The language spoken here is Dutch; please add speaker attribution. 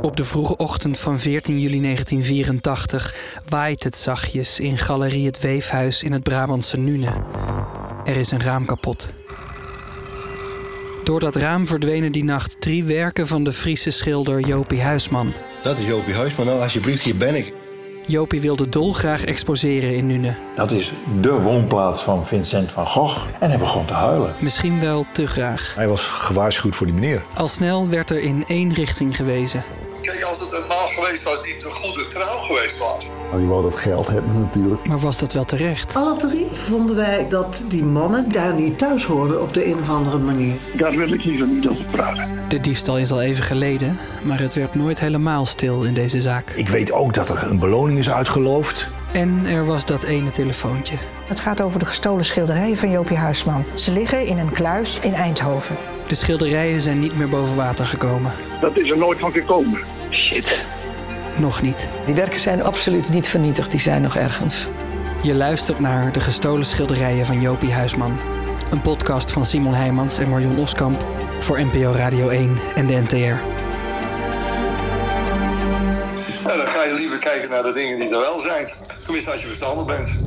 Speaker 1: Op de vroege ochtend van 14 juli 1984 waait het zachtjes in Galerie Het Weefhuis in het Brabantse Nune. Er is een raam kapot. Door dat raam verdwenen die nacht drie werken van de Friese schilder Jopie Huisman.
Speaker 2: Dat is Jopie Huisman. Nou, alsjeblieft, hier ben ik.
Speaker 1: Jopie wilde dolgraag exposeren in Nune.
Speaker 3: Dat is de woonplaats van Vincent van Gogh. En hij begon te huilen.
Speaker 1: Misschien wel te graag.
Speaker 4: Hij was gewaarschuwd voor die meneer.
Speaker 1: Al snel werd er in één richting gewezen.
Speaker 5: Kijk, als het een maal geweest was die te goede trouw geweest was.
Speaker 6: Die Nou, wou dat geld hebben natuurlijk.
Speaker 1: Maar was dat wel terecht?
Speaker 7: Alle drie vonden wij dat die mannen daar niet thuis hoorden op de een of andere manier.
Speaker 8: Daar wil ik liever niet over praten.
Speaker 1: De diefstal is al even geleden, maar het werd nooit helemaal stil in deze zaak.
Speaker 4: Ik weet ook dat er een beloning is uitgeloofd.
Speaker 1: En er was dat ene telefoontje.
Speaker 9: Het gaat over de gestolen schilderijen van Jopie Huisman. Ze liggen in een kluis in Eindhoven.
Speaker 1: De schilderijen zijn niet meer boven water gekomen.
Speaker 8: Dat is er nooit van gekomen.
Speaker 1: Shit. Nog niet.
Speaker 7: Die werken zijn absoluut niet vernietigd, die zijn nog ergens.
Speaker 1: Je luistert naar De gestolen schilderijen van Jopie Huisman. Een podcast van Simon Heijmans en Marion Oskamp voor NPO Radio 1 en de NTR.
Speaker 5: En dan ga je liever kijken naar de dingen die er wel zijn. Tenminste, als je verstandig bent.